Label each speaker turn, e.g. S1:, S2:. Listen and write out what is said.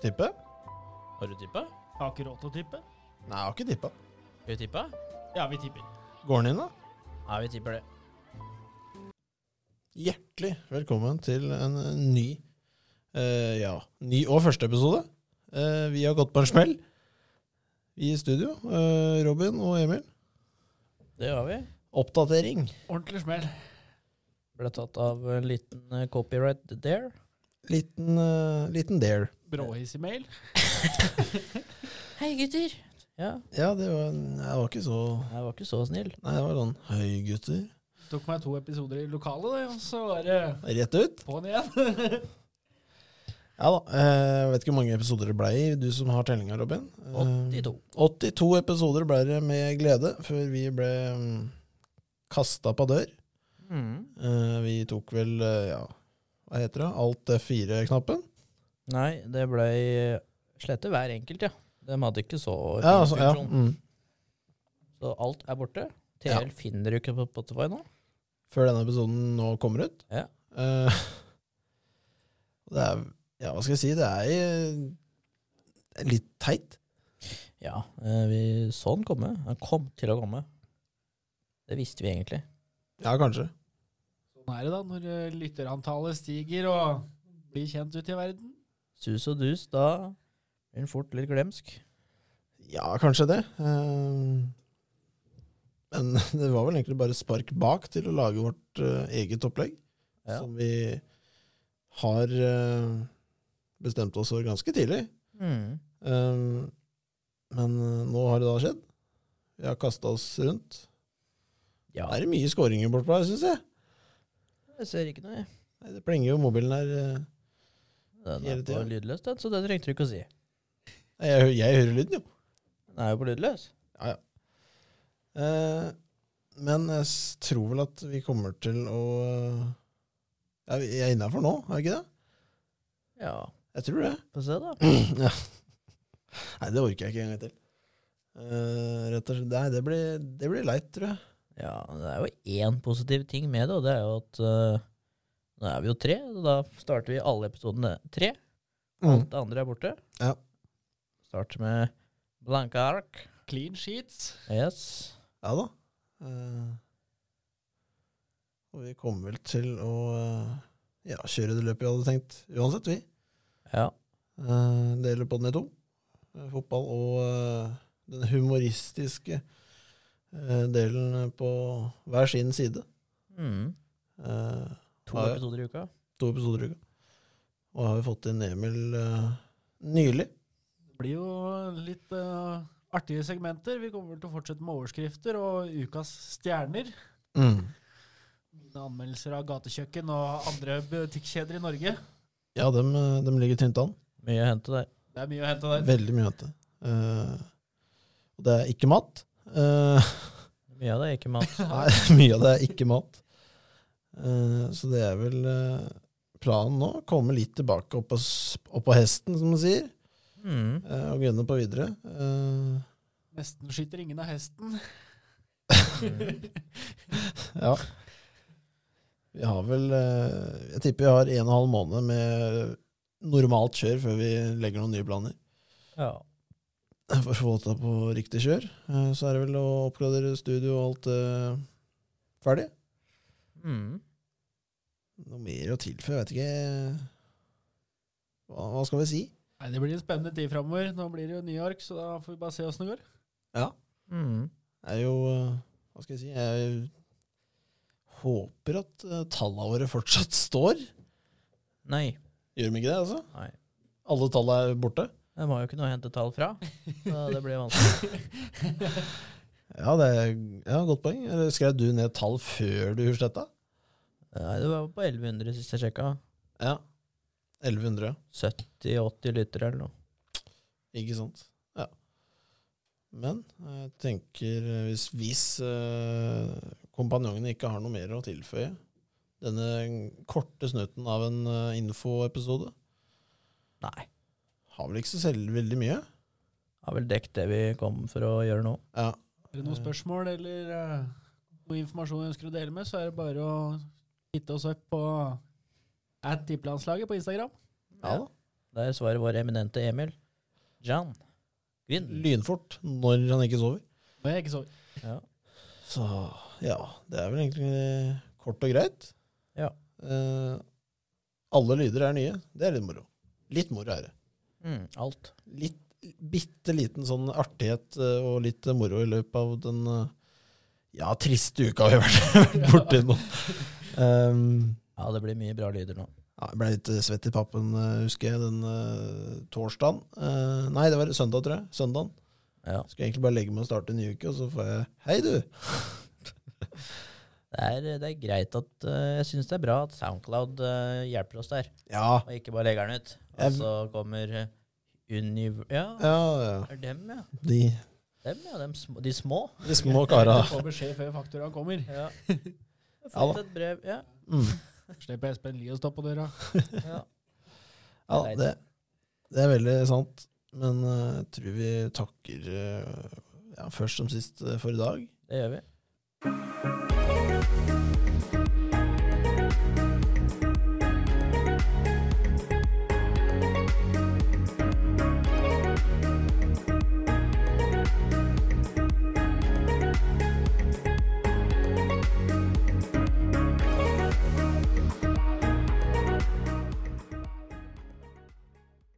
S1: Tippe?
S2: Har du tippa?
S3: Jeg har ikke råd til å tippe.
S1: Nei, jeg har ikke tippa.
S2: Skal vi tippe?
S3: Ja, vi tipper.
S1: Går den inn, da?
S2: Ja, vi tipper det.
S1: Hjertelig velkommen til en ny eh, Ja, ny og første episode. Eh, vi har gått på en smell i studio. eh, Robin og Emil.
S2: Det har vi.
S1: Oppdatering.
S3: Ordentlig smell.
S2: Ble tatt av en liten eh, copyright there.
S1: Liten, eh, liten dare.
S3: Bråhissig mail.
S2: Hei, gutter. Ja,
S1: Ja, det var, jeg var ikke så
S2: jeg var ikke så snill.
S1: Nei, det var sånn Hei, gutter.
S3: Tok meg to episoder i lokalet, det, og så var det
S1: Rett ut.
S3: på'n igjen.
S1: Ja da. eh, Jeg vet ikke hvor mange episoder det ble i, du som har tellinga, Robin. Eh,
S2: 82.
S1: 82 episoder ble det med glede før vi ble kasta på dør. Eh, vi tok vel, eh, ja, hva heter det, alt F4-knappen?
S2: Nei, det ble slette hver enkelt, ja. De hadde ikke så
S1: Ja,
S2: fin
S1: altså, ja.
S2: funksjon.
S1: Mm.
S2: Så alt er borte. TL
S1: Ja.
S2: finner du ikke på Spotify nå.
S1: Før denne episoden nå kommer ut.
S2: Ja.
S1: Eh, det er, ja, hva skal jeg si, det er eh, litt teit.
S2: Ja, eh, vi så den komme. Den kom til å komme. Det visste vi egentlig.
S1: Ja, kanskje.
S3: Sånn er det da, når eh, lytterantallet stiger og blir kjent ute i verden.
S2: Sus og dus, da blir den fort litt glemsk.
S1: Ja, kanskje det. Eh, men det var vel egentlig bare spark bak til å lage vårt eh, eget opplegg,
S2: Ja.
S1: som vi har eh, bestemt oss for ganske tidlig.
S2: Mm.
S1: Um, men uh, nå har det da skjedd. Vi har kasta oss rundt.
S2: Ja,
S1: Da er det mye skåringer bortpå her, syns jeg.
S2: jeg ser ikke noe. jeg.
S1: Nei, det plenger jo mobilen her. uh.
S2: Den er
S1: Hele
S2: på
S1: tida.
S2: lydløs, den, så det trengte du ikke å si.
S1: Nei, Jeg, hø- jeg hører lyden, jo.
S2: Den er jo på lydløs.
S1: Eh, men jeg s- tror vel at vi kommer til å uh, ja, vi- Jeg er innafor nå, er jeg ikke det?
S2: Ja,
S1: Jeg tror det.
S2: få se, da.
S1: ja. Nei, det orker jeg ikke en gang til. Eh, rett og slett. Nei, det blir, det blir leit, tror jeg.
S2: Ja, det er jo én positiv ting med det, og det er jo at eh, nå er vi jo tre, og da starter vi alle episodene tre. Alt det andre er borte.
S1: Ja.
S2: Starter med blanke ark.
S3: Clean sheets.
S2: Yes.
S1: Ja da. Eh, og vi kommer vel til å eh, ja, kjøre det løpet vi hadde tenkt, uansett, vi.
S2: Ja.
S1: Eh, deler podden i to. Eh, fotball og eh, den humoristiske eh, delen på hver sin side.
S2: Mm.
S1: Eh,
S2: To
S1: Ja, ja.
S2: episoder i uka.
S1: to episoder i uka. Og har vi fått inn Emil eh, nylig.
S3: Det blir jo litt eh, artige segmenter. Vi kommer vel til å fortsette med overskrifter og ukas stjerner. Mine anmeldelser av gatekjøkken og andre butikkjeder i Norge.
S1: Ja, dem, eh, dem ligger tynt an.
S2: Mye å hente der.
S3: Det er mye å hente der.
S1: Veldig mye å hente. Eh, og det er ikke mat. Eh,
S2: Mye av det er ikke mat.
S1: Nei, mye av det er ikke mat. Eh, så det er vel eh, planen nå. Komme litt tilbake opp på, s- opp på hesten, som man sier,
S2: Mm.
S1: eh, og gunne på videre. Eh,
S3: Nesten skyter ingen av hesten.
S1: ja. Vi har vel eh, Jeg tipper vi har en og en halv måned med normalt kjør før vi legger noen nye planer.
S2: Ja.
S1: For å få ta på riktig kjør, eh, så er det vel å oppgradere studio og alt eh, ferdig.
S2: Mm.
S1: Noe mer å tilføye, vet ikke hva, hva skal vi si?
S3: Nei, Det blir en spennende tid framover. Nå blir det jo New York, så da får vi bare se åssen det går.
S2: Mm.
S1: er jo eh, Hva skal jeg si Jeg håper at eh, tallene våre fortsatt står.
S2: Nei.
S1: Gjør de ikke det, altså?
S2: Nei.
S1: Alle tallene er borte?
S2: De har jo ikke noe å hente tall fra, så det blir vanskelig.
S1: Ja, det er ja, godt poeng. Eller skrev du ned tall før du hussletta?
S2: Nei, det var på 1100 sist jeg sjekka.
S1: Ja. 1100,
S2: 70-80 lyttere eller noe.
S1: ikke sant? Ja. Men jeg tenker eh, hvis, hvis eh, kompanjongene ikke har noe mer å tilføye denne korte snutten av en eh, infoepisode
S2: Nei.
S1: har vel ikke så selv veldig mye?
S2: Har vel dekket det vi kom for å gjøre nå.
S1: Ja.
S3: Er det noen
S1: Eh.
S3: spørsmål eller eh, noe informasjon du ønsker å dele med, så er det bare å hitte oss opp på at tippelandslaget på Instagram.
S1: Ja da.
S2: Der svarer vår eminente Emil. Jan. Gryn.
S1: Lynfort når han ikke sover.
S3: Men jeg er ikke så
S2: Ja.
S1: Så ja, det er vel egentlig kort og greit.
S2: Ja.
S1: Eh, alle lyder er nye. Det er litt moro. Litt moro er det.
S2: Mm, alt.
S1: Litt, bitte liten sånn artighet eh, og litt eh, moro i løpet av den eh, ja, triste uka vi har vært vært borti nå. Um,
S2: Ja, det blir mye bra lyder nå.
S1: ja, jeg ble litt eh, svett i pappen, eh, husker jeg, den eh, torsdagen. Eh, nei, det var søndag, tror jeg. Søndagen.
S2: Ja.
S1: Skal egentlig bare legge meg og starte en ny uke, og så får jeg Hei, du!
S2: Det er, det er greit at eh, Jeg syns det er bra at Soundcloud eh, hjelper oss der,
S1: Ja.
S2: og ikke bare legger den ut.
S1: Jeg-
S2: Og så kommer uh, Univ... Ja,
S1: Ja, ja.
S2: det er dem, ja.
S1: De,
S2: Dem, ja. Dem, sm- de små.
S1: de små kara.
S3: Får beskjed før fakturaen kommer.
S2: Ja. Jeg
S1: Ja
S2: har
S1: da.
S2: fått et brev. Ja.
S1: Mm.
S3: Slipper Espen Lie å stå på døra.
S2: ja.
S1: Ja,
S2: Nei,
S1: det, det er veldig sant. Men eh, jeg tror vi takker eh, ja, først som sist eh, for i dag.
S2: Det gjør vi.